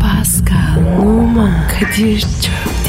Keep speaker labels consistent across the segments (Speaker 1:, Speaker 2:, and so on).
Speaker 1: Pascal, Oman, Kadir çok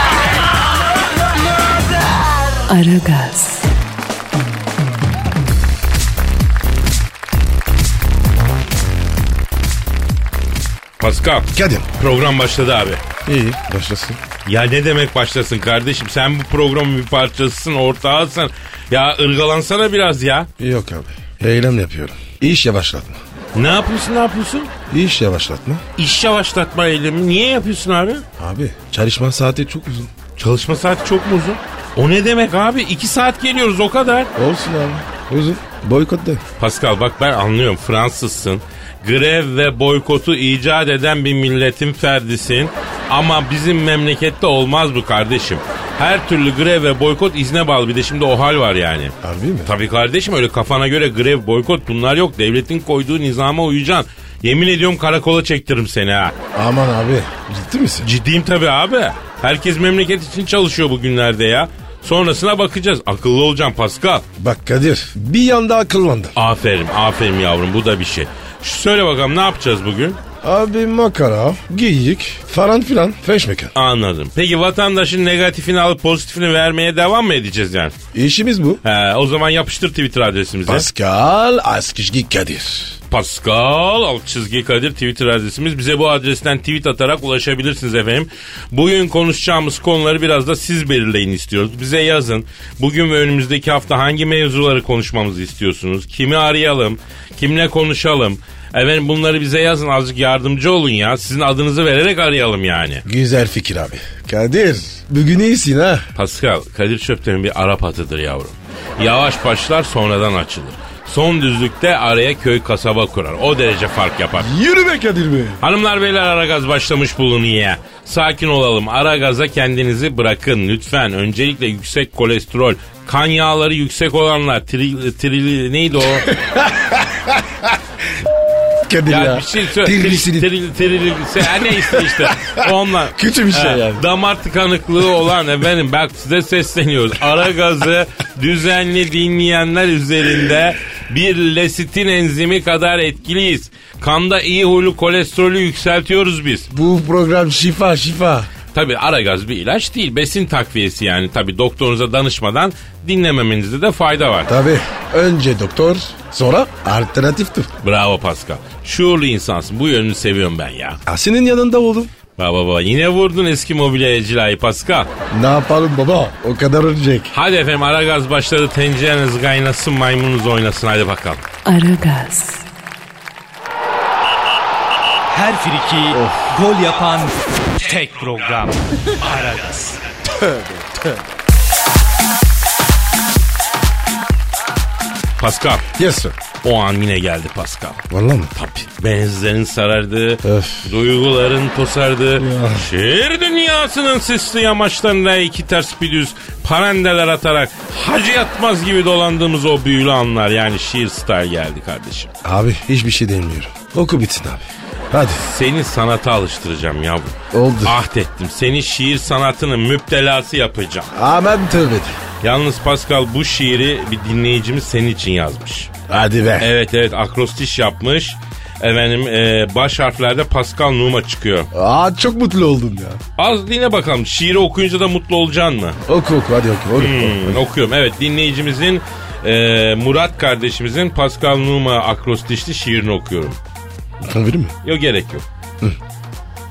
Speaker 1: Aragaz,
Speaker 2: Pascal.
Speaker 3: Kadir.
Speaker 2: Program başladı abi.
Speaker 3: İyi başlasın.
Speaker 2: Ya ne demek başlasın kardeşim? Sen bu programın bir parçasısın, ortağısın. Ya ırgalansana biraz ya.
Speaker 3: Yok abi. Eylem yapıyorum. İş yavaşlatma.
Speaker 2: Ne yapıyorsun, ne yapıyorsun?
Speaker 3: İş yavaşlatma.
Speaker 2: İş yavaşlatma eylemi. Niye yapıyorsun abi?
Speaker 3: Abi çalışma saati çok uzun.
Speaker 2: Çalışma saati çok mu uzun? O ne demek abi? İki saat geliyoruz o kadar.
Speaker 3: Olsun abi. Uzun. Boykotla.
Speaker 2: Pascal bak ben anlıyorum Fransızsın. Grev ve boykotu icat eden bir milletin ferdisin. Ama bizim memlekette olmaz bu kardeşim. Her türlü grev ve boykot izne bağlı. Bir de şimdi o hal var yani.
Speaker 3: Harbi mi?
Speaker 2: Tabii kardeşim öyle kafana göre grev, boykot bunlar yok. Devletin koyduğu nizama uyacaksın. Yemin ediyorum karakola çektiririm seni ha.
Speaker 3: Aman abi. Ciddi misin?
Speaker 2: Ciddiyim tabii abi. Herkes memleket için çalışıyor bugünlerde ya. Sonrasına bakacağız. Akıllı olacaksın Pascal.
Speaker 3: Bak Kadir. Bir yanda akıllandım.
Speaker 2: Aferin, aferin yavrum bu da bir şey. Şu söyle bakalım ne yapacağız bugün?
Speaker 3: Abi makara, geyik falan filan. Feş mekan.
Speaker 2: Anladım. Peki vatandaşın negatifini alıp pozitifini vermeye devam mı edeceğiz yani?
Speaker 3: İşimiz bu.
Speaker 2: He, o zaman yapıştır Twitter adresimize.
Speaker 3: Pascal Askışgi Kadir.
Speaker 2: Pascal alt çizgi Kadir Twitter adresimiz. Bize bu adresten tweet atarak ulaşabilirsiniz efendim. Bugün konuşacağımız konuları biraz da siz belirleyin istiyoruz. Bize yazın. Bugün ve önümüzdeki hafta hangi mevzuları konuşmamızı istiyorsunuz? Kimi arayalım? Kimle konuşalım? Efendim bunları bize yazın azıcık yardımcı olun ya. Sizin adınızı vererek arayalım yani.
Speaker 3: Güzel fikir abi. Kadir. Bugün iyisin ha.
Speaker 2: Pascal, Kadir Çöpten'in bir Arap atıdır yavrum. Yavaş başlar sonradan açılır. Son düzlükte araya köy kasaba kurar. O derece fark yapar.
Speaker 3: Yürü be Kadir be.
Speaker 2: Hanımlar beyler Aragaz başlamış bulunuyor. Sakin olalım. Aragaz'a kendinizi bırakın lütfen. Öncelikle yüksek kolesterol, kan yağları yüksek olanlar, tri, tri- neydi o?
Speaker 3: Kadir ya.
Speaker 2: ya bir şey söyle.
Speaker 3: Tirlisini-
Speaker 2: Tri- tri- tri- se- ha, ne işte işte. Onlar.
Speaker 3: Kötü bir şey
Speaker 2: Ha,
Speaker 3: yani.
Speaker 2: Damar tıkanıklığı olan efendim bak size sesleniyoruz. Aragaz'ı düzenli dinleyenler üzerinde bir lesitin enzimi kadar etkiliyiz. Kanda iyi huylu kolesterolü yükseltiyoruz biz.
Speaker 3: Bu program şifa şifa.
Speaker 2: Tabi Aragaz bir ilaç değil. Besin takviyesi yani. Tabi doktorunuza danışmadan dinlememenizde de fayda var.
Speaker 3: Tabi. Önce doktor sonra alternatif tıp.
Speaker 2: Bravo Pascal. Şuurlu insansın. Bu yönünü seviyorum ben ya.
Speaker 3: Ha, senin yanında oğlum.
Speaker 2: Baba baba yine vurdun eski mobilyacılayı Pascal.
Speaker 3: Ne yapalım baba? O kadar ölecek.
Speaker 2: Hadi efendim Aragaz başladı. Tencereniz kaynasın maymununuz oynasın. Hadi bakalım.
Speaker 1: Aragaz,
Speaker 4: Her friki gol yapan tek program. Aragaz.
Speaker 2: Pascal.
Speaker 3: Yes sir.
Speaker 2: O an yine geldi Pascal.
Speaker 3: Valla mı?
Speaker 2: Tabii. Benizlerin sarardığı,
Speaker 3: Öf.
Speaker 2: duyguların tosardığı, şehir dünyasının sisli yamaçlarında iki ters bir düz parandeler atarak hacı yatmaz gibi dolandığımız o büyülü anlar yani şiir star geldi kardeşim.
Speaker 3: Abi hiçbir şey demiyorum. Oku bitsin abi. Hadi.
Speaker 2: Seni sanata alıştıracağım yavrum.
Speaker 3: Oldu.
Speaker 2: Ahd ettim. Seni şiir sanatının müptelası yapacağım.
Speaker 3: Aman tövbe de.
Speaker 2: Yalnız Pascal bu şiiri bir dinleyicimiz senin için yazmış.
Speaker 3: Hadi be.
Speaker 2: Evet evet akrostiş yapmış. Efendim e, baş harflerde Pascal Numa çıkıyor.
Speaker 3: Aa çok mutlu oldum ya.
Speaker 2: Az dinle bakalım. Şiiri okuyunca da mutlu olacaksın mı?
Speaker 3: Oku oku hadi oku. oku.
Speaker 2: Hmm, okuyorum. Evet dinleyicimizin e, Murat kardeşimizin Pascal Numa akrostişli şiirini okuyorum.
Speaker 3: Tam verir mi?
Speaker 2: Yok gerek yok.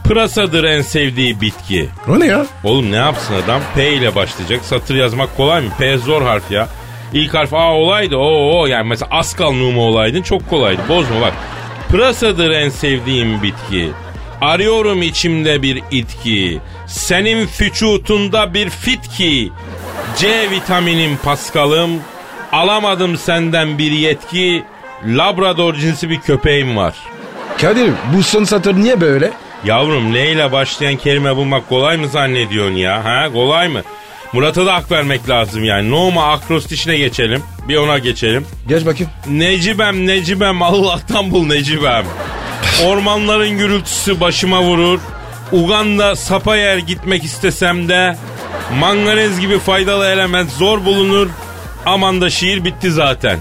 Speaker 2: Pırasadır en sevdiği bitki.
Speaker 3: O ne ya?
Speaker 2: Oğlum ne yapsın adam? P ile başlayacak. Satır yazmak kolay mı? P zor harf ya. İlk harf A olaydı. O o yani mesela askal numa olaydın çok kolaydı. Bozma bak. Pırasadır en sevdiğim bitki. Arıyorum içimde bir itki. Senin fücutunda bir fitki. C vitaminim paskalım. Alamadım senden bir yetki. Labrador cinsi bir köpeğim var.
Speaker 3: Kadir bu son satır niye böyle?
Speaker 2: Yavrum L ile başlayan kelime bulmak kolay mı zannediyorsun ya? Ha kolay mı? Murat'a da hak vermek lazım yani. Noma akrostişine geçelim. Bir ona geçelim.
Speaker 3: Geç bakayım.
Speaker 2: Necibem Necibem Allah'tan bul Necibem. Ormanların gürültüsü başıma vurur. Uganda sapa yer gitmek istesem de manganez gibi faydalı element zor bulunur. Aman da şiir bitti zaten.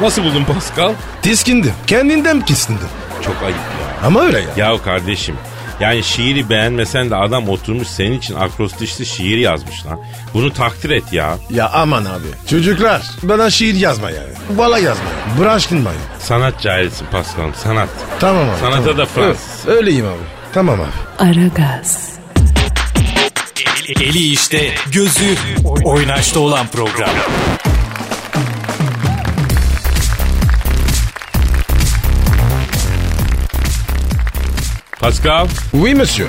Speaker 2: Nasıl buldun Pascal?
Speaker 3: Tiskindim. Kendinden tiskindim.
Speaker 2: Çok ayıp ya.
Speaker 3: Ama öyle ya.
Speaker 2: Ya kardeşim yani şiiri beğenmesen de adam oturmuş senin için akrostişli şiir yazmış lan. Bunu takdir et ya.
Speaker 3: Ya aman abi. Çocuklar bana şiir yazma yani. Valla yazma. Bıraşkın bana.
Speaker 2: Sanat cahilsin Pascal'ım sanat.
Speaker 3: Tamam abi.
Speaker 2: Sanata
Speaker 3: tamam.
Speaker 2: da Fransız.
Speaker 3: Ö- Öyleyim abi. Tamam abi.
Speaker 1: Aragaz,
Speaker 4: Eli, eli işte, gözü oynaşta olan program.
Speaker 2: Pascal
Speaker 3: Oui monsieur.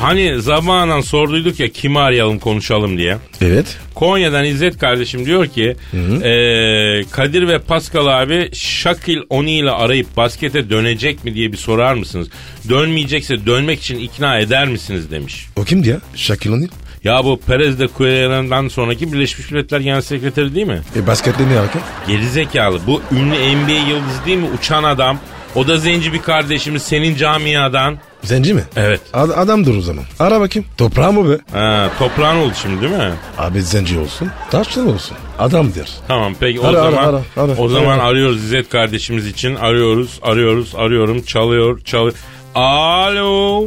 Speaker 2: hani zamanan sorduyduk ya kimi arayalım konuşalım diye.
Speaker 3: Evet.
Speaker 2: Konya'dan İzzet kardeşim diyor ki eee, Kadir ve Pascal abi Şakil Oni ile arayıp baskete dönecek mi diye bir sorar mısınız? Dönmeyecekse dönmek için ikna eder misiniz demiş.
Speaker 3: O kimdi ya? Shaquille O'Neal.
Speaker 2: Ya bu Perez de Cuellar'dan sonraki Birleşmiş Milletler Genel Sekreteri değil mi?
Speaker 3: E baskette ne hareket?
Speaker 2: Gerizekalı bu ünlü NBA yıldızı değil mi? Uçan adam. O da zenci bir kardeşimiz senin camiadan.
Speaker 3: Zenci mi?
Speaker 2: Evet.
Speaker 3: Ad- adamdır o zaman. Ara bakayım. Toprağı mı be?
Speaker 2: Ha, toprağın oldu şimdi değil mi?
Speaker 3: Abi zenci olsun. Taşlı olsun. Adamdır.
Speaker 2: Tamam peki o
Speaker 3: Ara, ara,
Speaker 2: zaman
Speaker 3: ara, ara.
Speaker 2: o zaman
Speaker 3: Ara.
Speaker 2: arıyoruz İzzet kardeşimiz için. Arıyoruz, arıyoruz, arıyorum. Çalıyor, çalıyor. Alo.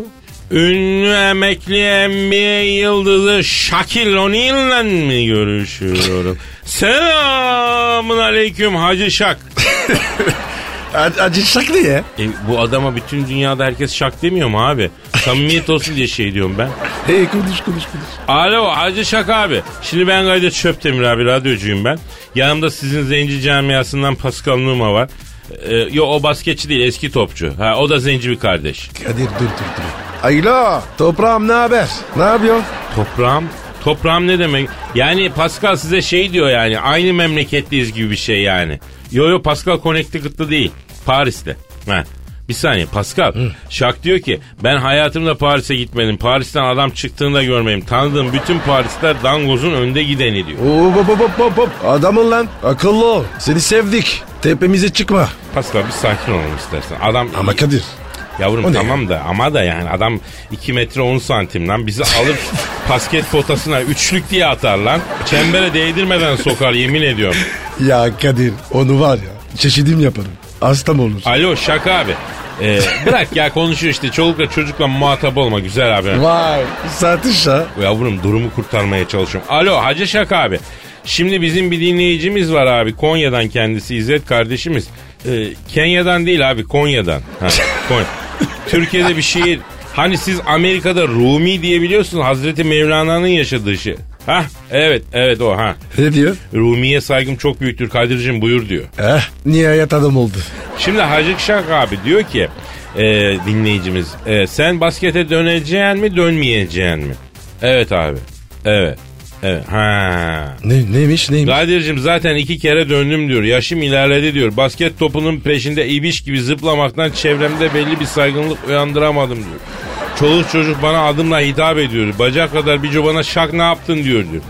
Speaker 2: Ünlü emekli NBA yıldızı Shaquille O'Neal'la mi görüşüyorum? Selamun aleyküm Hacı Şak.
Speaker 3: Acı şaklı ya.
Speaker 2: E, bu adama bütün dünyada herkes şak demiyor mu abi? Samimiyet olsun diye şey diyorum ben.
Speaker 3: Hey konuş konuş konuş.
Speaker 2: Alo Hacı Şak abi. Şimdi ben Kadir Çöptemir abi radyocuyum ben. Yanımda sizin zenci camiasından Pascal Numa var. Ee, yo o basketçi değil eski topçu. Ha o da zenci bir kardeş.
Speaker 3: Kadir dur dur dur. Ayla toprağım ne haber? Ne yapıyorsun?
Speaker 2: Toprağım Toprağım ne demek? Yani Pascal size şey diyor yani aynı memleketliyiz gibi bir şey yani. Yo yo Pascal Connecticut'ta değil. Paris'te. Ha. Bir saniye Pascal. Şak diyor ki ben hayatımda Paris'e gitmedim. Paris'ten adam çıktığını da görmedim. Tanıdığım bütün Parisler dangozun önde gideni diyor.
Speaker 3: Oo, hop hop hop hop hop. Adamın lan. Akıllı ol. Seni sevdik. Tepemize çıkma.
Speaker 2: Pascal bir sakin olalım istersen. Adam
Speaker 3: Ama Kadir. o
Speaker 2: Yavrum
Speaker 3: ne
Speaker 2: tamam da ama da yani adam 2 metre 10 santim lan bizi alır basket potasına üçlük diye atar lan. Çembere değdirmeden sokar yemin ediyorum.
Speaker 3: Ya Kadir onu var ya. Çeşidim yaparım. Hasta mı olur?
Speaker 2: Alo şaka abi. Ee, bırak ya konuşuyor işte çolukla çocukla muhatap olma güzel abi.
Speaker 3: Vay. Satış ha.
Speaker 2: Yavrum durumu kurtarmaya çalışıyorum. Alo Hacı Şaka abi. Şimdi bizim bir dinleyicimiz var abi. Konya'dan kendisi İzzet kardeşimiz. Ee, Kenya'dan değil abi Konya'dan. Ha, Konya. Türkiye'de bir şehir. Hani siz Amerika'da Rumi diye biliyorsunuz Hazreti Mevlana'nın yaşadığı şey. Ha evet evet o ha.
Speaker 3: Ne diyor?
Speaker 2: Rumi'ye saygım çok büyüktür Kadir'cim buyur diyor.
Speaker 3: Eh nihayet adam oldu.
Speaker 2: Şimdi Hacı Şak abi diyor ki e, dinleyicimiz e, sen baskete döneceksin mi dönmeyeceksin mi? Evet abi. Evet. Evet. Ha.
Speaker 3: Ne, neymiş neymiş?
Speaker 2: Kadir'cim zaten iki kere döndüm diyor. Yaşım ilerledi diyor. Basket topunun peşinde ibiş gibi zıplamaktan çevremde belli bir saygınlık uyandıramadım diyor. Çoluk çocuk bana adımla hitap ediyor. Bacak kadar bir bana şak ne yaptın diyor diyor.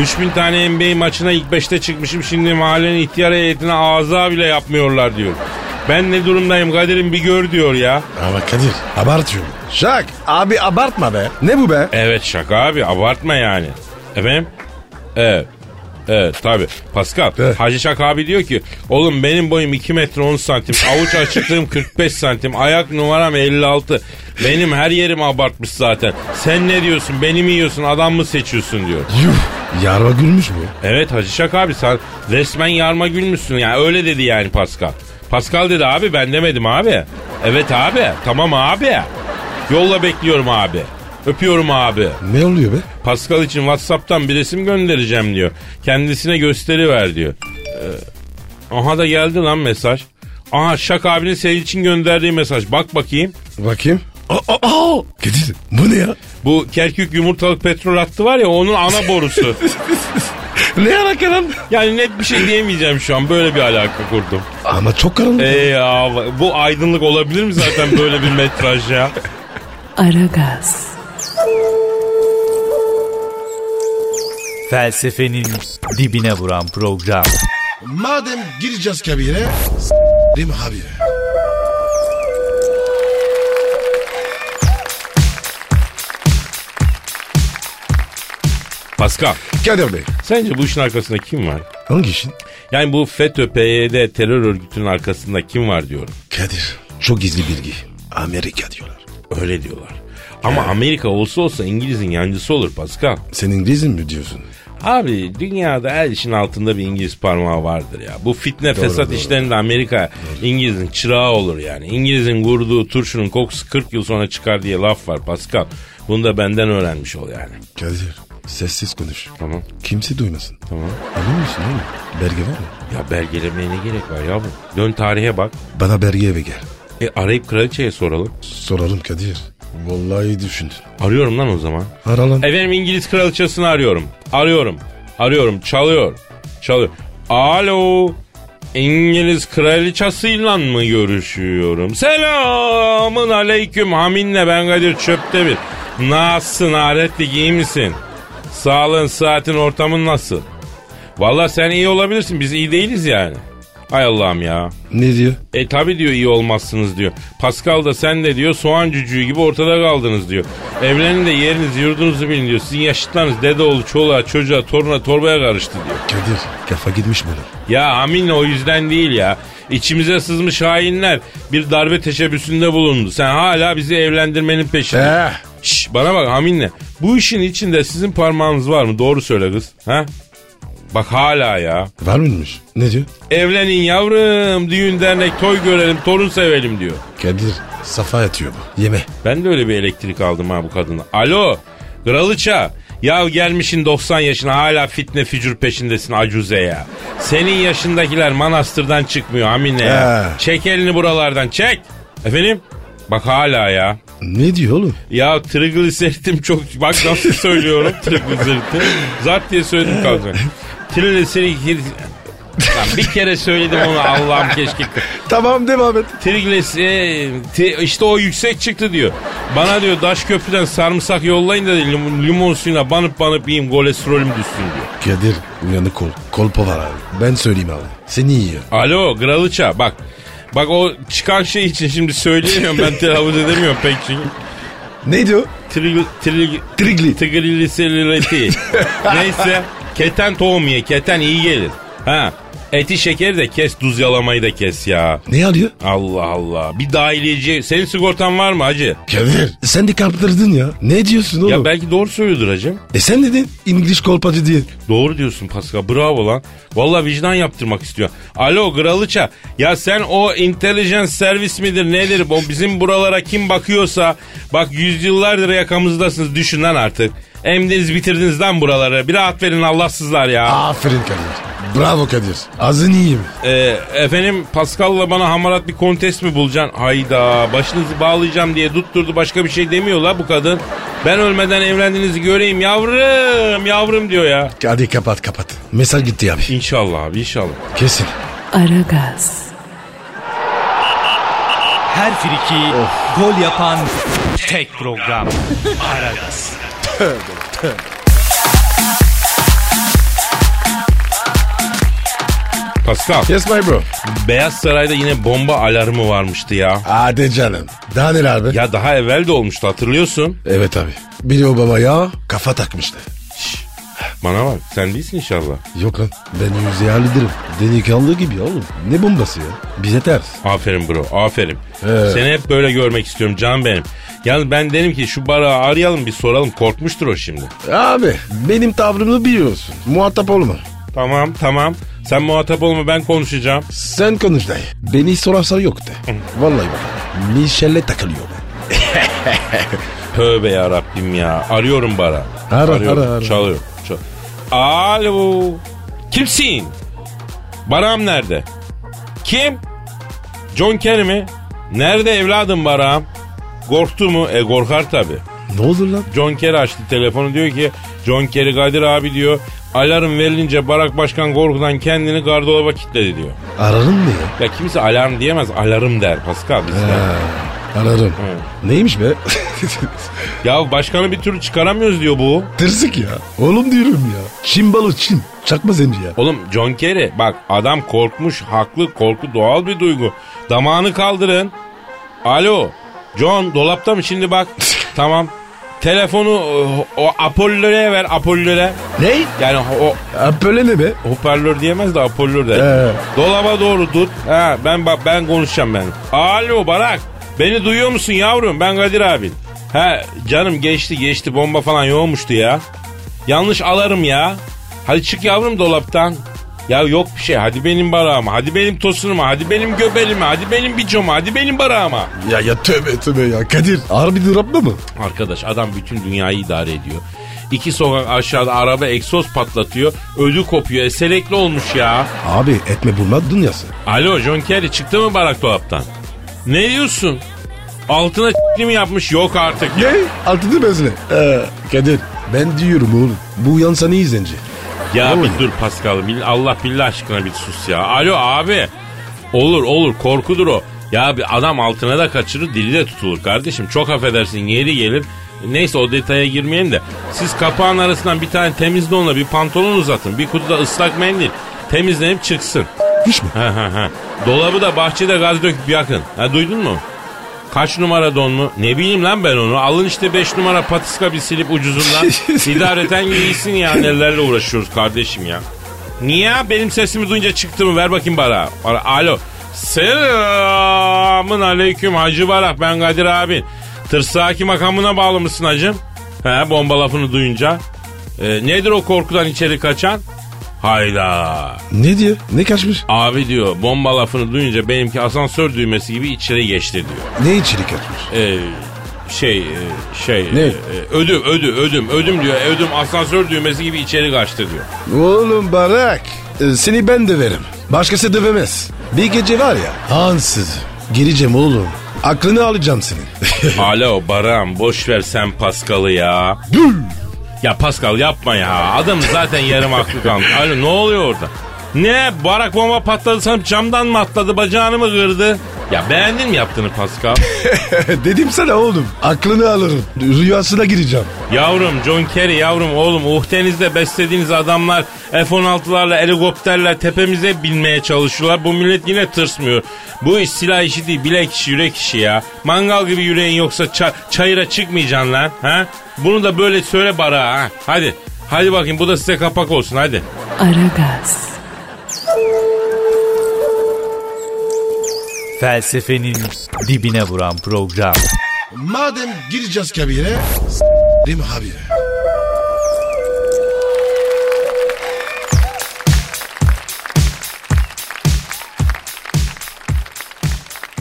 Speaker 2: 3000 tane NBA maçına ilk 5'te çıkmışım şimdi mahallenin ihtiyar heyetine ağza bile yapmıyorlar diyor. Ben ne durumdayım Kadir'im bir gör diyor ya.
Speaker 3: Ama Kadir abartıyor. E, Şak abi abartma be. Ne bu be?
Speaker 2: Evet şaka abi abartma yani. Efendim? Evet. Evet tabi. Pascal.
Speaker 3: Evet.
Speaker 2: Hacı Şak abi diyor ki oğlum benim boyum 2 metre 10 santim. Avuç açıklığım 45 santim. Ayak numaram 56. Benim her yerim abartmış zaten. Sen ne diyorsun? Beni mi yiyorsun? Adam mı seçiyorsun diyor.
Speaker 3: Yuh. Yarma gülmüş bu.
Speaker 2: Evet Hacı Şak abi sen resmen yarma gülmüşsün. Yani öyle dedi yani Pascal. Pascal dedi abi ben demedim abi. Evet abi. Tamam abi. Yolla bekliyorum abi. Öpüyorum abi.
Speaker 3: Ne oluyor be?
Speaker 2: Pascal için Whatsapp'tan bir resim göndereceğim diyor. Kendisine gösteri ver diyor. Ee, aha da geldi lan mesaj. Aha Şak abinin senin için gönderdiği mesaj. Bak bakayım.
Speaker 3: Bakayım. Aa, aa, aa. Kadir bu ne ya?
Speaker 2: Bu Kerkük yumurtalık petrol hattı var ya onun ana borusu.
Speaker 3: Ne alaka lan?
Speaker 2: yani net bir şey diyemeyeceğim şu an. Böyle bir alaka kurdum.
Speaker 3: Ama çok karanlık.
Speaker 2: Ee ya bu aydınlık olabilir mi zaten böyle bir metraj ya?
Speaker 1: Aragaz,
Speaker 4: Felsefenin dibine vuran program.
Speaker 3: Madem gireceğiz kabire. Rim abi.
Speaker 2: Pascal
Speaker 3: Kadir Bey.
Speaker 2: sence bu işin arkasında kim var?
Speaker 3: Hangi işin?
Speaker 2: Yani bu FETÖ, PYD terör örgütünün arkasında kim var diyorum.
Speaker 3: Kadir. Çok gizli bilgi. Amerika diyorlar.
Speaker 2: Öyle diyorlar. Ama Amerika olsa olsa İngiliz'in yancısı olur Pascal.
Speaker 3: Sen İngiliz'in mi diyorsun?
Speaker 2: Abi dünyada her işin altında bir İngiliz parmağı vardır ya. Bu fitne fesat işlerinde Amerika İngiliz'in çırağı olur yani. İngiliz'in kurduğu turşunun kokusu 40 yıl sonra çıkar diye laf var Pascal. Bunu da benden öğrenmiş ol yani.
Speaker 3: Kadir. Sessiz konuş.
Speaker 2: Tamam.
Speaker 3: Kimse duymasın.
Speaker 2: Tamam.
Speaker 3: Emin misin oğlum? Belge var mı?
Speaker 2: Ya belgelemeye ne gerek var yavrum? Dön tarihe bak.
Speaker 3: Bana belge eve gel.
Speaker 2: E arayıp kraliçeye soralım.
Speaker 3: Soralım Kadir. Vallahi düşündün.
Speaker 2: Arıyorum lan o zaman.
Speaker 3: Aralım.
Speaker 2: Efendim İngiliz kraliçesini arıyorum. Arıyorum. Arıyorum. Çalıyor. Çalıyor. Alo. İngiliz kraliçesiyle mı görüşüyorum? Selamın aleyküm Haminle ben Kadir Çöptemir. Nasılsın Aretlik iyi misin? Sağlığın, saatin, ortamın nasıl? Valla sen iyi olabilirsin biz iyi değiliz yani. Ay Allah'ım ya.
Speaker 3: Ne diyor?
Speaker 2: E tabi diyor iyi olmazsınız diyor. Pascal da sen de diyor soğan cücüğü gibi ortada kaldınız diyor. Evlenin de yerinizi yurdunuzu bilin diyor. Sizin yaşıtlarınız dede oğlu çoluğa çocuğa toruna torbaya karıştı diyor.
Speaker 3: Kadir kafa gitmiş bunun.
Speaker 2: Ya aminle o yüzden değil ya. İçimize sızmış hainler bir darbe teşebbüsünde bulundu. Sen hala bizi evlendirmenin peşinde.
Speaker 3: Eh.
Speaker 2: Şş, bana bak aminle. Bu işin içinde sizin parmağınız var mı? Doğru söyle kız. Ha? Bak hala ya.
Speaker 3: Var mıymış? Ne diyor?
Speaker 2: Evlenin yavrum. Düğün dernek toy görelim torun sevelim diyor.
Speaker 3: Kadir safa yatıyor bu. Yeme.
Speaker 2: Ben de öyle bir elektrik aldım ha bu kadına. Alo Kralıça ya gelmişin 90 yaşına hala fitne fücür peşindesin acuze ya. Senin yaşındakiler manastırdan çıkmıyor amine ya.
Speaker 3: He.
Speaker 2: Çek elini buralardan çek. Efendim? Bak hala ya.
Speaker 3: Ne diyor oğlum?
Speaker 2: Ya trigliseritim çok... Bak nasıl söylüyorum trigliseritim. Zart diye söyledim kaldı. Trigliseritim... Lan bir kere söyledim onu Allah'ım keşke
Speaker 3: Tamam devam et.
Speaker 2: Trigles e, te- işte o yüksek çıktı diyor. Bana diyor daş köprüden sarımsak yollayın da lim- limon suyuna banıp banıp yiyeyim kolesterolüm düşsün diyor.
Speaker 3: Kadir uyanık ol. Kolpa var abi. Ben söyleyeyim abi. Seni yiyor.
Speaker 2: Alo Gralıça bak. Bak o çıkan şey için şimdi söyleyemiyorum ben telaffuz edemiyorum pek çünkü.
Speaker 3: Ne diyor?
Speaker 2: Trigl, trigl,
Speaker 3: Trigli.
Speaker 2: Trigliserileriti. Neyse. Keten tohum ye. Keten iyi gelir. Ha. Eti şekeri de kes. Duz yalamayı da kes ya.
Speaker 3: Ne alıyor?
Speaker 2: Allah Allah. Bir dahiliyeci. Senin sigortan var mı hacı?
Speaker 3: Kadir E sen de kaptırdın ya. Ne diyorsun oğlum?
Speaker 2: Ya belki doğru söylüyordur hacı.
Speaker 3: E sen dedin İngiliz kolpacı diye.
Speaker 2: Doğru diyorsun Pascal. Bravo lan. Valla vicdan yaptırmak istiyor. Alo Gralıça. Ya sen o intelligence servis midir nedir? O bizim buralara kim bakıyorsa. Bak yüzyıllardır yakamızdasınız. Düşün lan artık. Emdiniz bitirdiniz lan buraları. Bir rahat verin Allahsızlar ya.
Speaker 3: Aferin Kadir. Bravo Kadir. Ağzını yiyeyim.
Speaker 2: Ee, efendim Pascal'la bana hamarat bir kontes mi bulacaksın? Hayda başınızı bağlayacağım diye tutturdu başka bir şey demiyor la bu kadın. Ben ölmeden evlendiğinizi göreyim yavrum yavrum diyor ya.
Speaker 3: Hadi kapat kapat. Mesaj gitti abi.
Speaker 2: İnşallah abi inşallah.
Speaker 3: Kesin.
Speaker 1: Aragaz,
Speaker 4: Her friki gol yapan tek program. Aragaz.
Speaker 2: Pascal.
Speaker 3: Yes my bro.
Speaker 2: Beyaz Saray'da yine bomba alarmı varmıştı ya.
Speaker 3: Hadi canım. Daha neler abi?
Speaker 2: Ya daha evvel de olmuştu hatırlıyorsun.
Speaker 3: Evet abi. Biri Obama'ya kafa takmıştı.
Speaker 2: Bana bak sen değilsin inşallah.
Speaker 3: Yok lan ben yüzeye hallederim. Delikanlı gibi ya oğlum. Ne bombası ya? Bize ters.
Speaker 2: Aferin bro aferin.
Speaker 3: Evet.
Speaker 2: Seni hep böyle görmek istiyorum can benim. Yalnız ben dedim ki şu barağı arayalım bir soralım korkmuştur o şimdi.
Speaker 3: Abi benim tavrımı biliyorsun. Muhatap olma.
Speaker 2: Tamam tamam sen muhatap olma ben konuşacağım.
Speaker 3: Sen konuş dayı. Beni sorarsan yok de. Vallahi bak. Michel'le takılıyor ben.
Speaker 2: Tövbe ya Rabbim ya arıyorum bara.
Speaker 3: Ara,
Speaker 2: arıyorum.
Speaker 3: ara, ara.
Speaker 2: Çalıyorum. çal- Alo. Kimsin? Baram nerede? Kim? John Kerry mi? Nerede evladım Baram? Korktu mu? E korkar tabii.
Speaker 3: Ne olur lan?
Speaker 2: John Kerry açtı telefonu diyor ki John Kerry Kadir abi diyor alarm verilince Barak Başkan korkudan kendini gardıroba kilitledi diyor.
Speaker 3: Ararım mı ya?
Speaker 2: Ya kimse alarm diyemez alarm der Pascal bizden.
Speaker 3: Anladım. Neymiş be?
Speaker 2: Ya başkanı bir türlü çıkaramıyoruz diyor bu.
Speaker 3: Tırsık ya. Oğlum diyorum ya. Çin balı Çin. Çakma zenci ya.
Speaker 2: Oğlum John Kerry bak adam korkmuş haklı korku doğal bir duygu. Damağını kaldırın. Alo John dolapta mı şimdi bak. tamam. Telefonu o, o Apollo'ya ver Apollo'ya.
Speaker 3: Ney?
Speaker 2: Yani o
Speaker 3: Ha, Böyle ne be?
Speaker 2: hoparlör diyemez de Apollo der.
Speaker 3: Ee.
Speaker 2: Dolaba doğru tut. Ha, ben bak ben konuşacağım ben. Alo Barak. Beni duyuyor musun yavrum? Ben Kadir abin. Ha canım geçti geçti bomba falan yoğmuştu ya. Yanlış alarım ya. Hadi çık yavrum dolaptan. Ya yok bir şey. Hadi benim barağıma, hadi benim tosunuma, hadi benim göbelime, hadi benim bicoma, hadi benim barağıma.
Speaker 3: Ya ya tövbe tövbe ya Kadir. Harbi durapma mı?
Speaker 2: Arkadaş adam bütün dünyayı idare ediyor. İki sokak aşağıda araba egzoz patlatıyor. Ödü kopuyor. Eselekli olmuş ya.
Speaker 3: Abi etme bulma dünyası.
Speaker 2: Alo John Kerry çıktı mı barak dolaptan? Ne diyorsun? Altına mi yapmış? Yok artık.
Speaker 3: Ne? Altıdı bezle. Ee, Kadir. Ben diyorum oğlum. Bu uyansan iyi zenci.
Speaker 2: Ya
Speaker 3: Ne
Speaker 2: bir
Speaker 3: oluyor?
Speaker 2: dur Pascal. bil- Allah billah aşkına bir sus ya. Alo abi. Olur olur korkudur o. Ya bir adam altına da kaçırır dili de tutulur kardeşim. Çok affedersin yeri gelir. Neyse o detaya girmeyelim de. Siz kapağın arasından bir tane temiz donla bir pantolon uzatın. Bir kutuda ıslak mendil. Temizlenip çıksın.
Speaker 3: Hiç mi?
Speaker 2: Ha ha ha. Dolabı da bahçede gaz döküp yakın. Ha duydun mu? Kaç numara don mu? Ne bileyim lan ben onu. Alın işte 5 numara patiska bir silip ucuzundan. İdareten giysin ya. Nelerle uğraşıyoruz kardeşim ya. Niye? Benim sesimi duyunca çıktı mı? Ver bakayım bana. Ara- Alo. Selamın aleyküm Hacı Barak. Ben Kadir abi. Tırsaki makamına bağlı mısın hacım? He bomba lafını duyunca. E, nedir o korkudan içeri kaçan? Hayda.
Speaker 3: Ne diyor? Ne kaçmış?
Speaker 2: Abi diyor bomba lafını duyunca benimki asansör düğmesi gibi içeri geçti diyor.
Speaker 3: Ne içeri kaçmış?
Speaker 2: Ee, şey e, şey
Speaker 3: Ne?
Speaker 2: e, ödüm ödüm ödüm ödüm diyor ödüm asansör düğmesi gibi içeri kaçtı diyor.
Speaker 3: Oğlum Barak. e, Seni ben döverim. Başkası dövemez. Bir gece var ya. Ansız. Geleceğim oğlum. Aklını alacağım senin.
Speaker 2: Alo Baran boş ver sen Paskal'ı ya. ya Pascal yapma ya. Adam zaten yarım aklı kalmış. Alo ne oluyor orada? Ne barak bomba patladı sanıp camdan mı atladı bacağını mı kırdı? Ya beğendin mi yaptığını Pascal?
Speaker 3: Dedim sana oğlum. Aklını alırım. Rüyasına gireceğim.
Speaker 2: Yavrum John Kerry yavrum oğlum uhtenizde beslediğiniz adamlar F-16'larla helikopterler tepemize binmeye çalışıyorlar. Bu millet yine tırsmıyor. Bu iş silah işi değil bilek işi yürek işi ya. Mangal gibi yüreğin yoksa ça- çayıra çıkmayacaksın lan. Ha? Bunu da böyle söyle bara ha. Hadi. Hadi bakayım bu da size kapak olsun hadi.
Speaker 1: Aragaz,
Speaker 4: Felsefenin dibine vuran program.
Speaker 3: Madem gireceğiz kabire. Değil mi abi?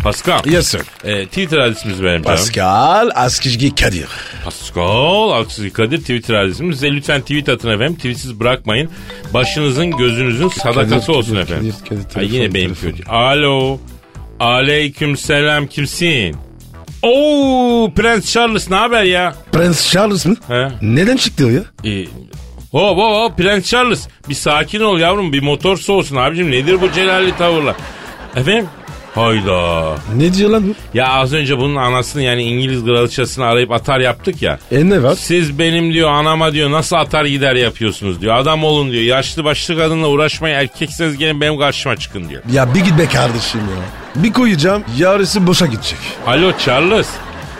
Speaker 2: Pascal.
Speaker 3: Yes sir.
Speaker 2: E, Twitter adresimiz benim canım.
Speaker 3: Pascal Askizgi Kadir.
Speaker 2: Pascal Aksız Kadir Twitter adresimiz. Size lütfen tweet atın efendim. Tweetsiz bırakmayın. Başınızın gözünüzün sadakası
Speaker 3: Kadir,
Speaker 2: olsun
Speaker 3: Kadir,
Speaker 2: efendim.
Speaker 3: Kadir, Kadir,
Speaker 2: Ay yine
Speaker 3: telefon,
Speaker 2: benim
Speaker 3: telefon.
Speaker 2: kötü. Alo. Aleyküm selam kimsin? Oo Prens Charles ne haber ya?
Speaker 3: Prens Charles mı?
Speaker 2: He.
Speaker 3: Neden çıktı o ya?
Speaker 2: Ee, hop hop hop Prens Charles. Bir sakin ol yavrum bir motor soğusun abicim. Nedir bu celalli tavırlar? Efendim? Hayda.
Speaker 3: Ne diyor lan bu?
Speaker 2: Ya az önce bunun anasını yani İngiliz kraliçesini arayıp atar yaptık ya.
Speaker 3: E ne var?
Speaker 2: Siz benim diyor anama diyor nasıl atar gider yapıyorsunuz diyor. Adam olun diyor. Yaşlı başlı kadınla uğraşmayın. Erkekseniz gelin benim karşıma çıkın diyor.
Speaker 3: Ya bir git be kardeşim ya. Bir koyacağım yarısı boşa gidecek.
Speaker 2: Alo Charles.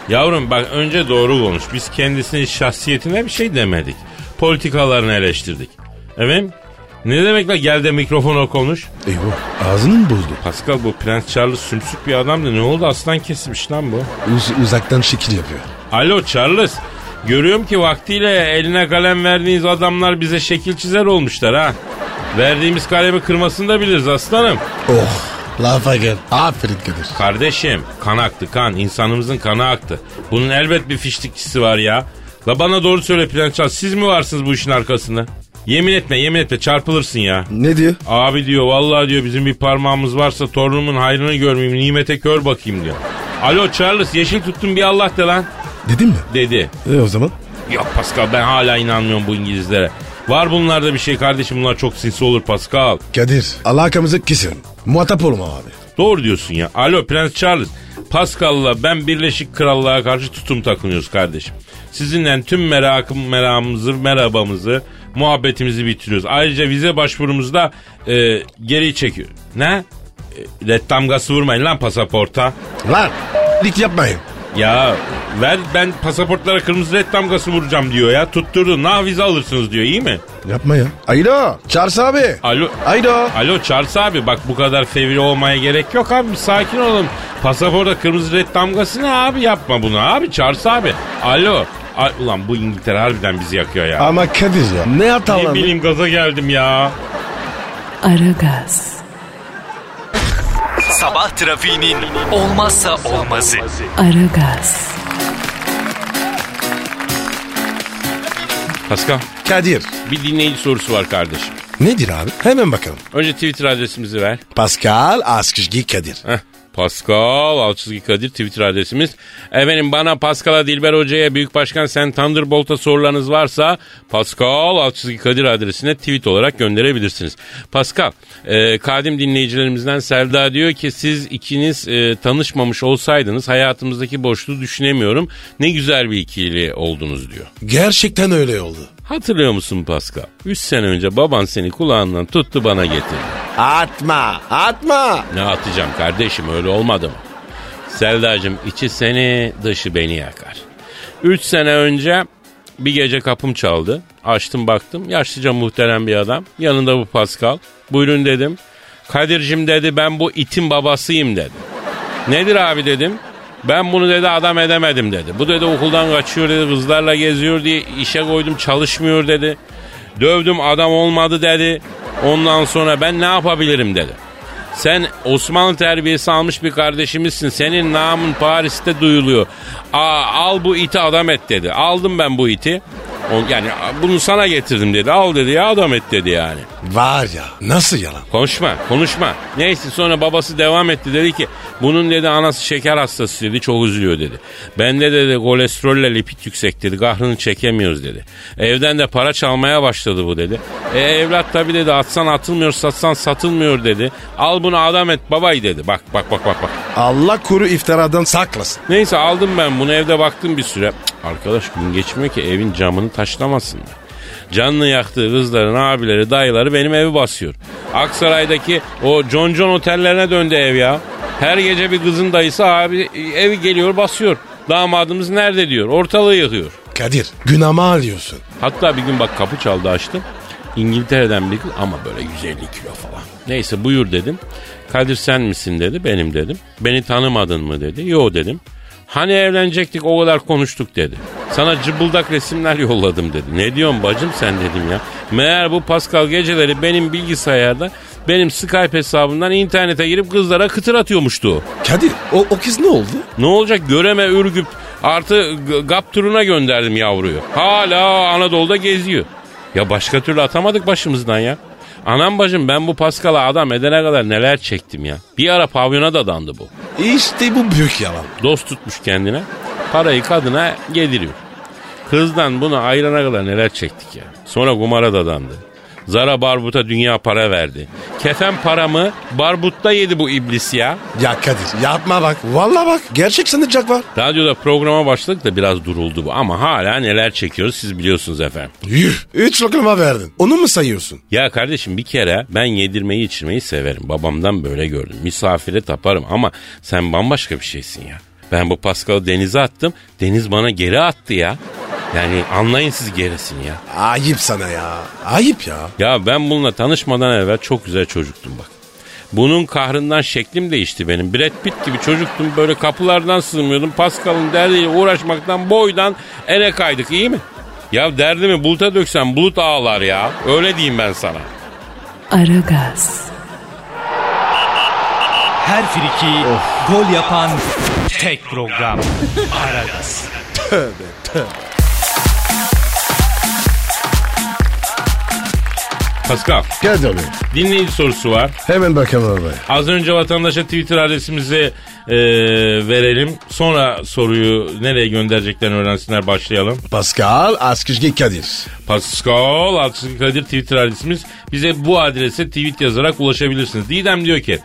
Speaker 2: Yavrum bak önce doğru konuş. Biz kendisinin şahsiyetine bir şey demedik. Politikalarını eleştirdik. Efendim? Ne demek la gel de mikrofona konuş.
Speaker 3: Eyvah ağzını mı bozdu?
Speaker 2: Pascal bu Prens Charles sümsük bir adamdı. Ne oldu aslan kesmiş lan bu.
Speaker 3: Uz- uzaktan şekil yapıyor.
Speaker 2: Alo Charles. Görüyorum ki vaktiyle eline kalem verdiğiniz adamlar bize şekil çizer olmuşlar ha. Verdiğimiz kalemi kırmasını da biliriz aslanım.
Speaker 3: Oh lafa gel. Aferin Kadir.
Speaker 2: Kardeşim kan aktı kan. insanımızın kanı aktı. Bunun elbet bir fişlikçisi var ya. La bana doğru söyle Prens Charles. Siz mi varsınız bu işin arkasında? Yemin etme yemin etme çarpılırsın ya.
Speaker 3: Ne diyor?
Speaker 2: Abi diyor vallahi diyor bizim bir parmağımız varsa torunumun hayrını görmeyeyim nimete kör bakayım diyor. Alo Charles yeşil tuttun bir Allah de lan
Speaker 3: Dedim mi?
Speaker 2: dedi.
Speaker 3: E o zaman?
Speaker 2: Yok Pascal ben hala inanmıyorum bu İngilizlere. Var bunlarda bir şey kardeşim bunlar çok sinsi olur Pascal.
Speaker 3: Kadir alakamızı kesin. Muhatap olma abi.
Speaker 2: Doğru diyorsun ya. Alo Prens Charles. Pascal'la ben Birleşik Krallığa karşı tutum takınıyoruz kardeşim. Sizinle tüm merakım, meramımızı, merhabamızı, muhabbetimizi bitiriyoruz. Ayrıca vize başvurumuzu da e, geri çekiyor. Ne? E, red damgası vurmayın lan pasaporta.
Speaker 3: Lan lik yapmayın.
Speaker 2: Ya ver ben pasaportlara kırmızı red damgası vuracağım diyor ya. Tutturdu. Nah vize alırsınız diyor iyi mi?
Speaker 3: Yapma ya. Ayda. Charles abi.
Speaker 2: Alo.
Speaker 3: Ayda.
Speaker 2: Alo Charles abi bak bu kadar fevri olmaya gerek yok abi bir sakin olun. Pasaporta kırmızı red damgası ne abi yapma bunu abi Charles abi. Alo. Ay, ulan bu İngiltere harbiden bizi yakıyor ya.
Speaker 3: Ama Kadir ya. Ne hata
Speaker 2: Ne
Speaker 3: lan?
Speaker 2: bileyim gaza geldim ya.
Speaker 1: Aragaz,
Speaker 5: Sabah trafiğinin olmazsa olmazı.
Speaker 1: Aragaz,
Speaker 2: Pascal
Speaker 3: Kadir.
Speaker 2: bir dinleyici sorusu var kardeşim.
Speaker 3: Nedir abi? Hemen bakalım.
Speaker 2: Önce Twitter adresimizi ver.
Speaker 3: Pascal Askışgi Kadir.
Speaker 2: Heh, Pascal Alçızgi Kadir Twitter adresimiz. Efendim bana Pascal'a Dilber Hoca'ya Büyük Başkan Sen Thunderbolt'a sorularınız varsa Pascal Alçızgi Kadir adresine tweet olarak gönderebilirsiniz. Pascal, e, kadim dinleyicilerimizden Selda diyor ki siz ikiniz e, tanışmamış olsaydınız hayatımızdaki boşluğu düşünemiyorum. Ne güzel bir ikili oldunuz diyor.
Speaker 3: Gerçekten öyle oldu.
Speaker 2: Hatırlıyor musun Pascal? 3 sene önce baban seni kulağından tuttu bana getirdi.
Speaker 3: Atma. Atma.
Speaker 2: Ne atacağım kardeşim öyle olmadı mı? Selda'cığım içi seni dışı beni yakar. Üç sene önce bir gece kapım çaldı. Açtım baktım yaşlıca muhterem bir adam. Yanında bu Pascal. Buyurun dedim. Kadir'cim dedi ben bu itin babasıyım dedi. Nedir abi dedim. Ben bunu dedi adam edemedim dedi. Bu dedi okuldan kaçıyor dedi kızlarla geziyor diye işe koydum çalışmıyor dedi. Dövdüm adam olmadı dedi. Ondan sonra ben ne yapabilirim dedi. Sen Osmanlı terbiyesi almış bir kardeşimizsin. Senin namın Paris'te duyuluyor. Aa, al bu iti adam et dedi. Aldım ben bu iti. O- Yani bunu sana getirdim dedi. Al dedi ya adam et dedi yani.
Speaker 3: Var ya. Nasıl yalan?
Speaker 2: Konuşma, konuşma. Neyse sonra babası devam etti dedi ki bunun dedi anası şeker hastası dedi çok üzülüyor dedi. Bende dedi kolesterolle lipid yüksek dedi kahrını çekemiyoruz dedi. Evden de para çalmaya başladı bu dedi. E evlat tabi dedi atsan atılmıyor satsan satılmıyor dedi. Al bunu adam et babay dedi. Bak bak bak bak bak.
Speaker 3: Allah kuru iftiradan saklasın.
Speaker 2: Neyse aldım ben bunu evde baktım bir süre. Cık, arkadaş gün geçmiyor ki evin camını taşlamasınlar. Canını yaktığı kızların abileri dayıları benim evi basıyor. Aksaray'daki o John John otellerine döndü ev ya. Her gece bir kızın dayısı abi evi geliyor basıyor. Damadımız nerede diyor ortalığı yıkıyor.
Speaker 3: Kadir günahımı alıyorsun.
Speaker 2: Hatta bir gün bak kapı çaldı açtım. İngiltere'den bir kız ama böyle 150 kilo falan. Neyse buyur dedim. Kadir sen misin dedi benim dedim. Beni tanımadın mı dedi. Yo dedim. Hani evlenecektik o kadar konuştuk dedi. Sana cıbıldak resimler yolladım dedi. Ne diyorsun bacım sen dedim ya. Meğer bu Pascal geceleri benim bilgisayarda benim Skype hesabından internete girip kızlara kıtır atıyormuştu.
Speaker 3: Kadir o, o kız ne oldu?
Speaker 2: Ne olacak göreme ürgüp artı g- GAP turuna gönderdim yavruyu. Hala Anadolu'da geziyor. Ya başka türlü atamadık başımızdan ya. Anam bacım ben bu Paskal'a adam edene kadar neler çektim ya. Bir ara pavyona da dandı bu.
Speaker 3: İşte bu büyük yalan.
Speaker 2: Dost tutmuş kendine. Parayı kadına yediriyor. Kızdan bunu ayırana kadar neler çektik ya. Sonra kumara dadandı. Zara Barbut'a dünya para verdi. Kefen paramı Barbut'ta yedi bu iblis ya.
Speaker 3: Ya Kadir yapma bak. Valla bak gerçek sanacak var.
Speaker 2: Radyoda programa başladık da biraz duruldu bu ama hala neler çekiyoruz siz biliyorsunuz efendim.
Speaker 3: Yuh. Üç lokma verdin. Onu mu sayıyorsun?
Speaker 2: Ya kardeşim bir kere ben yedirmeyi içirmeyi severim. Babamdan böyle gördüm. Misafire taparım ama sen bambaşka bir şeysin ya. Ben bu Pascal'ı denize attım. Deniz bana geri attı ya. Yani anlayın siz gerisini ya.
Speaker 3: Ayıp sana ya. Ayıp ya.
Speaker 2: Ya ben bununla tanışmadan evvel çok güzel çocuktum bak. Bunun kahrından şeklim değişti benim. Brad Pitt gibi çocuktum böyle kapılardan sığmıyordum. Pascal'ın derdiyle uğraşmaktan boydan ele kaydık iyi mi? Ya derdimi buluta döksem bulut ağlar ya. Öyle diyeyim ben sana.
Speaker 1: Aragaz,
Speaker 4: Her friki gol yapan tek program. Aragaz.
Speaker 2: Pascal
Speaker 3: Kadir abi.
Speaker 2: dinleyici sorusu var.
Speaker 3: Hemen bakalım abi.
Speaker 2: Az önce vatandaşa Twitter adresimizi e, verelim. Sonra soruyu nereye göndereceklerini öğrensinler başlayalım.
Speaker 3: Pascal Askışgi Kadir.
Speaker 2: Pascal Askışgi Kadir Twitter adresimiz. Bize bu adrese tweet yazarak ulaşabilirsiniz. Didem diyor ki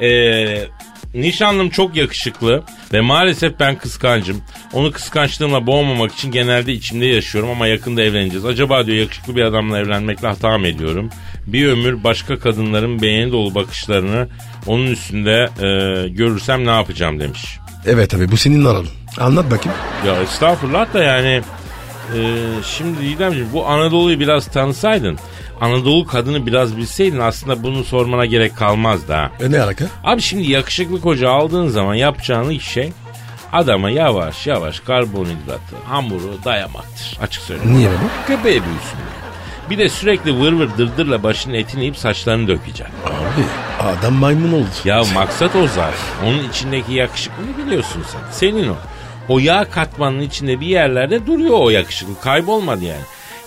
Speaker 2: eee, "Ee, Nişanlım çok yakışıklı ve maalesef ben kıskancım. Onu kıskançlığımla boğmamak için genelde içimde yaşıyorum ama yakında evleneceğiz. Acaba diyor yakışıklı bir adamla evlenmekle hata mı ediyorum? Bir ömür başka kadınların beğeni dolu bakışlarını onun üstünde e, görürsem ne yapacağım demiş.
Speaker 3: Evet abi bu senin aranın. Anlat bakayım.
Speaker 2: Ya estağfurullah da yani e, şimdi İdemciğim bu Anadolu'yu biraz tanısaydın Anadolu kadını biraz bilseydin aslında bunu sormana gerek kalmazdı ha.
Speaker 3: E ne alaka?
Speaker 2: Abi şimdi yakışıklı koca aldığın zaman yapacağın ilk şey adama yavaş yavaş karbonhidratı, hamuru dayamaktır. Açık söyleyeyim.
Speaker 3: Niye baba?
Speaker 2: Göbeği büyüsün diye. Bir de sürekli vır vır dırdırla başının etini yiyip saçlarını dökeceksin.
Speaker 3: Abi adam maymun oldu.
Speaker 2: Ya maksat o zar. Onun içindeki yakışıklılığı biliyorsun sen. Senin o. O yağ katmanının içinde bir yerlerde duruyor o yakışıklı. Kaybolmadı yani.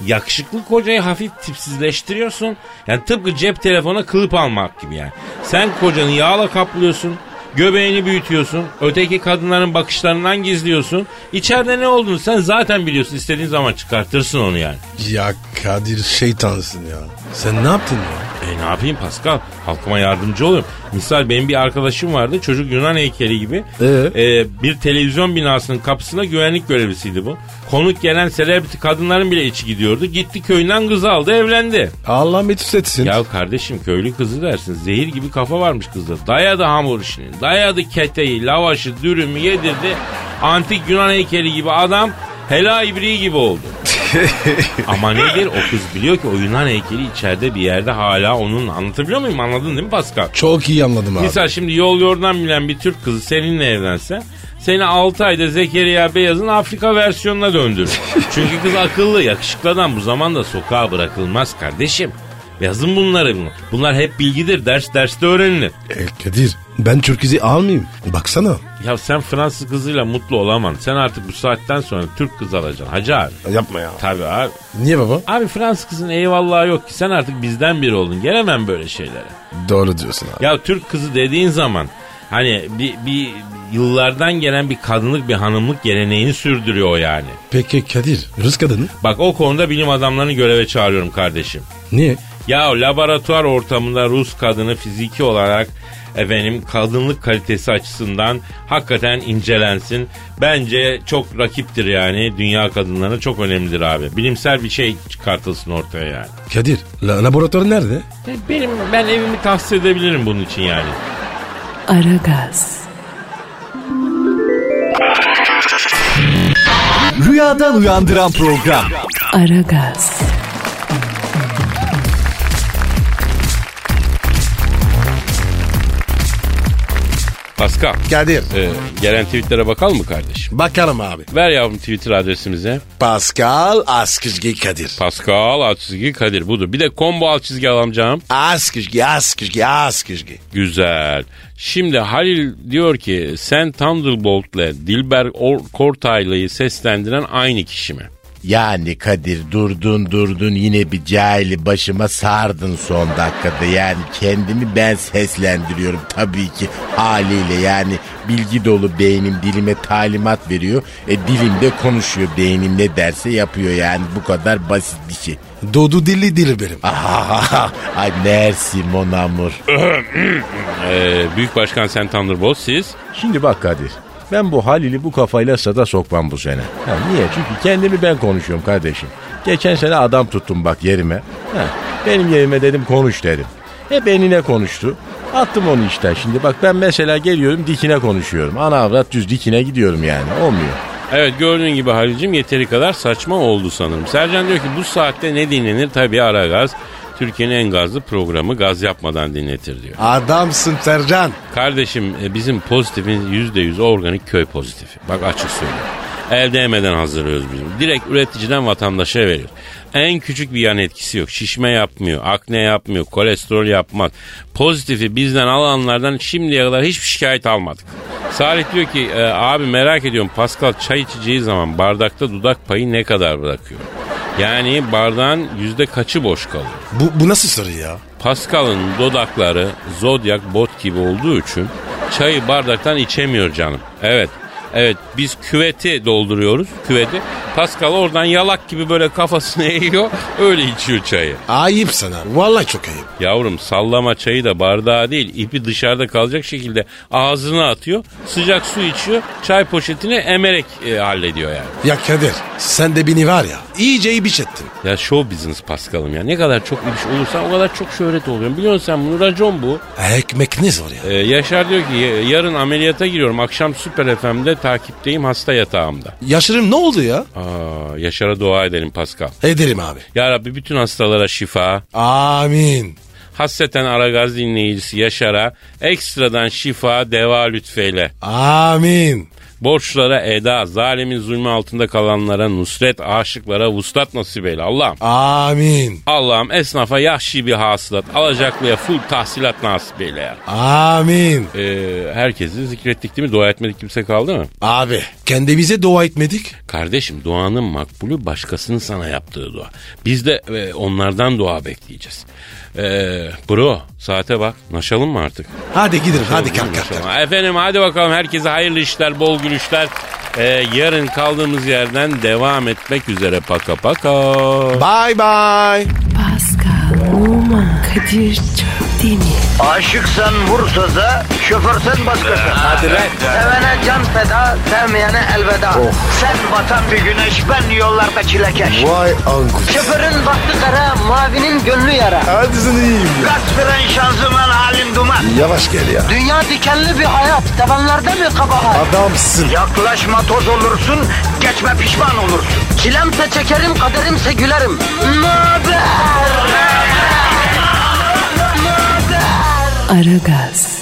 Speaker 2: Yakışıklı kocayı hafif tipsizleştiriyorsun. Yani tıpkı cep telefona kılıp almak gibi yani. Sen kocanı yağla kaplıyorsun. Göbeğini büyütüyorsun. Öteki kadınların bakışlarından gizliyorsun. İçeride ne olduğunu sen zaten biliyorsun. İstediğin zaman çıkartırsın onu yani.
Speaker 3: Ya Kadir şeytansın ya. Sen ne yaptın ya?
Speaker 2: E ne yapayım Pascal? Halkıma yardımcı oluyorum. Misal benim bir arkadaşım vardı. Çocuk Yunan heykeli gibi.
Speaker 3: Ee?
Speaker 2: E, bir televizyon binasının kapısına güvenlik görevlisiydi bu. Konuk gelen selebriti kadınların bile içi gidiyordu. Gitti köyünden kızı aldı evlendi.
Speaker 3: Allah metis etsin.
Speaker 2: Ya kardeşim köylü kızı dersin. Zehir gibi kafa varmış kızda. Dayadı hamur işini. Dayadı keteyi, lavaşı, dürümü yedirdi. Antik Yunan heykeli gibi adam helal ibriği gibi oldu. Ama nedir o kız biliyor ki o Yunan heykeli içeride bir yerde hala onun anlatabiliyor muyum anladın değil mi Pascal?
Speaker 3: Çok iyi anladım abi.
Speaker 2: Misal şimdi yol yordan bilen bir Türk kızı seninle evlense seni 6 ayda Zekeriya Beyaz'ın Afrika versiyonuna döndürür. Çünkü kız akıllı yakışıklı adam bu zamanda sokağa bırakılmaz kardeşim. Yazın bunları. Bunlar hep bilgidir. Ders derste öğrenilir.
Speaker 3: E, Kadir ben Türk izi almayayım. Baksana.
Speaker 2: Ya sen Fransız kızıyla mutlu olamam. Sen artık bu saatten sonra Türk kız alacaksın. Hacı abi.
Speaker 3: Yapma ya.
Speaker 2: Tabii abi.
Speaker 3: Niye baba?
Speaker 2: Abi Fransız kızın eyvallahı yok ki. Sen artık bizden biri oldun. Gelemem böyle şeylere.
Speaker 3: Doğru diyorsun abi.
Speaker 2: Ya Türk kızı dediğin zaman hani bir, bir yıllardan gelen bir kadınlık bir hanımlık geleneğini sürdürüyor yani.
Speaker 3: Peki Kadir Rus kadını?
Speaker 2: Bak o konuda bilim adamlarını göreve çağırıyorum kardeşim.
Speaker 3: Niye?
Speaker 2: Ya laboratuvar ortamında Rus kadını fiziki olarak efendim kadınlık kalitesi açısından hakikaten incelensin. Bence çok rakiptir yani dünya kadınlarına çok önemlidir abi. Bilimsel bir şey çıkartılsın ortaya yani.
Speaker 3: Kadir la- laboratuvar nerede?
Speaker 2: E, Benim ben evimi tahsis edebilirim bunun için yani.
Speaker 1: Aragaz,
Speaker 5: Rüyadan uyandıran program.
Speaker 1: Aragaz,
Speaker 2: Pascal.
Speaker 3: Kadir.
Speaker 2: Ee, gelen tweetlere bakalım mı kardeşim?
Speaker 3: Bakalım abi.
Speaker 2: Ver yavrum Twitter adresimize.
Speaker 3: Pascal Askizgi Kadir.
Speaker 2: Pascal alt çizgi Kadir budur. Bir de combo alt çizgi alacağım.
Speaker 3: Askizgi Askizgi Askizgi.
Speaker 2: Güzel. Şimdi Halil diyor ki sen Thunderbolt'le Dilber Or- Kortaylı'yı seslendiren aynı kişi mi?
Speaker 6: Yani Kadir durdun durdun yine bir cahili başıma sardın son dakikada. Yani kendimi ben seslendiriyorum tabii ki haliyle yani bilgi dolu beynim dilime talimat veriyor. E dilim de konuşuyor beynim ne derse yapıyor yani bu kadar basit bir şey.
Speaker 3: Dodu dilli dili benim.
Speaker 6: Ah, Ay merci mon amour.
Speaker 2: Ee, Büyük Başkan sen Thunderbolt siz.
Speaker 6: Şimdi bak Kadir. Ben bu Halil'i bu kafayla sada sokmam bu sene. Ha, niye? Çünkü kendimi ben konuşuyorum kardeşim. Geçen sene adam tuttum bak yerime. Ha, benim yerime dedim konuş dedim. Hep enine konuştu. Attım onu işten şimdi. Bak ben mesela geliyorum dikine konuşuyorum. Ana avrat düz dikine gidiyorum yani. Olmuyor.
Speaker 2: Evet gördüğün gibi Halil'cim yeteri kadar saçma oldu sanırım. Sercan diyor ki bu saatte ne dinlenir? Tabii ara gaz. Türkiye'nin en gazlı programı gaz yapmadan dinletir diyor.
Speaker 3: Adamsın Sercan.
Speaker 2: Kardeşim e, bizim pozitifimiz yüzde yüz organik köy pozitifi. Bak açık söylüyorum. El değmeden hazırlıyoruz bizim. Direkt üreticiden vatandaşa veriyor. En küçük bir yan etkisi yok. Şişme yapmıyor, akne yapmıyor, kolesterol yapmaz. Pozitifi bizden alanlardan şimdiye kadar hiçbir şikayet almadık. Salih diyor ki e, abi merak ediyorum Pascal çay içeceği zaman bardakta dudak payı ne kadar bırakıyor? Yani bardağın yüzde kaçı boş kalıyor?
Speaker 3: Bu, bu nasıl soru ya?
Speaker 2: Pascal'ın dodakları zodyak bot gibi olduğu için çayı bardaktan içemiyor canım. Evet. Evet biz küveti dolduruyoruz küveti. Pascal oradan yalak gibi böyle kafasını eğiyor öyle içiyor çayı.
Speaker 3: Ayıp sana. Vallahi çok ayıp.
Speaker 2: Yavrum sallama çayı da bardağa değil ipi dışarıda kalacak şekilde ağzına atıyor. Sıcak su içiyor çay poşetini emerek e, hallediyor yani.
Speaker 3: Ya Kadir sen de beni var ya iyice ibiş ettin.
Speaker 2: Ya show business Pascal'ım ya ne kadar çok iş olursa o kadar çok şöhret oluyorum. Biliyorsun sen bunu racon bu.
Speaker 3: Ekmek ne zor ya.
Speaker 2: Ee, Yaşar diyor ki "Ya- yarın ameliyata giriyorum akşam Süper FM'de takipteyim hasta yatağımda.
Speaker 3: Yaşarım ne oldu ya?
Speaker 2: Aa, Yaşar'a dua edelim Pascal.
Speaker 3: Ederim abi.
Speaker 2: Ya Rabbi bütün hastalara şifa,
Speaker 3: Amin.
Speaker 2: Hasreten Aragaz dinleyicisi Yaşar'a ekstradan şifa, deva lütfeyle.
Speaker 3: Amin.
Speaker 2: Borçlara eda, zalimin zulmü altında kalanlara nusret, aşıklara vuslat nasip eyle Allah'ım.
Speaker 3: Amin.
Speaker 2: Allah'ım esnafa yahşi bir hasılat, alacaklıya full tahsilat nasip eyle ya.
Speaker 3: Amin.
Speaker 2: Ee, herkesi zikrettik değil mi? Dua etmedik kimse kaldı mı?
Speaker 3: Abi kendimize dua etmedik.
Speaker 2: Kardeşim duanın makbulü başkasının sana yaptığı dua. Biz de e, onlardan dua bekleyeceğiz. Ee, bro saate bak. Naşalım mı artık?
Speaker 3: Hadi gidelim hadi kalk kalk. kalk.
Speaker 2: Tamam. Efendim hadi bakalım herkese hayırlı işler, bol gülüşler. Ee, yarın kaldığımız yerden devam etmek üzere paka paka.
Speaker 3: Bye bye.
Speaker 1: Pascal, Oman, Kadir çok değil mi?
Speaker 7: Aşıksan vursa da şoförsen başkasın. Hadi Sevene can feda, sevmeyene elveda. Sen batan bir güneş, ben yollarda çilekeş.
Speaker 8: Vay anku.
Speaker 7: Şoförün baktı kara, mavinin gönlü yara.
Speaker 8: Hadi sen iyiyim ya.
Speaker 7: Kasperen şanzıman halin duman.
Speaker 8: Yavaş gel ya.
Speaker 7: Dünya dikenli bir hayat, sevenlerde mi kabahar?
Speaker 8: Adamsın.
Speaker 7: Yaklaşma toz olursun, geçme pişman olursun. Çilemse çekerim, kaderimse gülerim. Möber!
Speaker 1: Aragaz.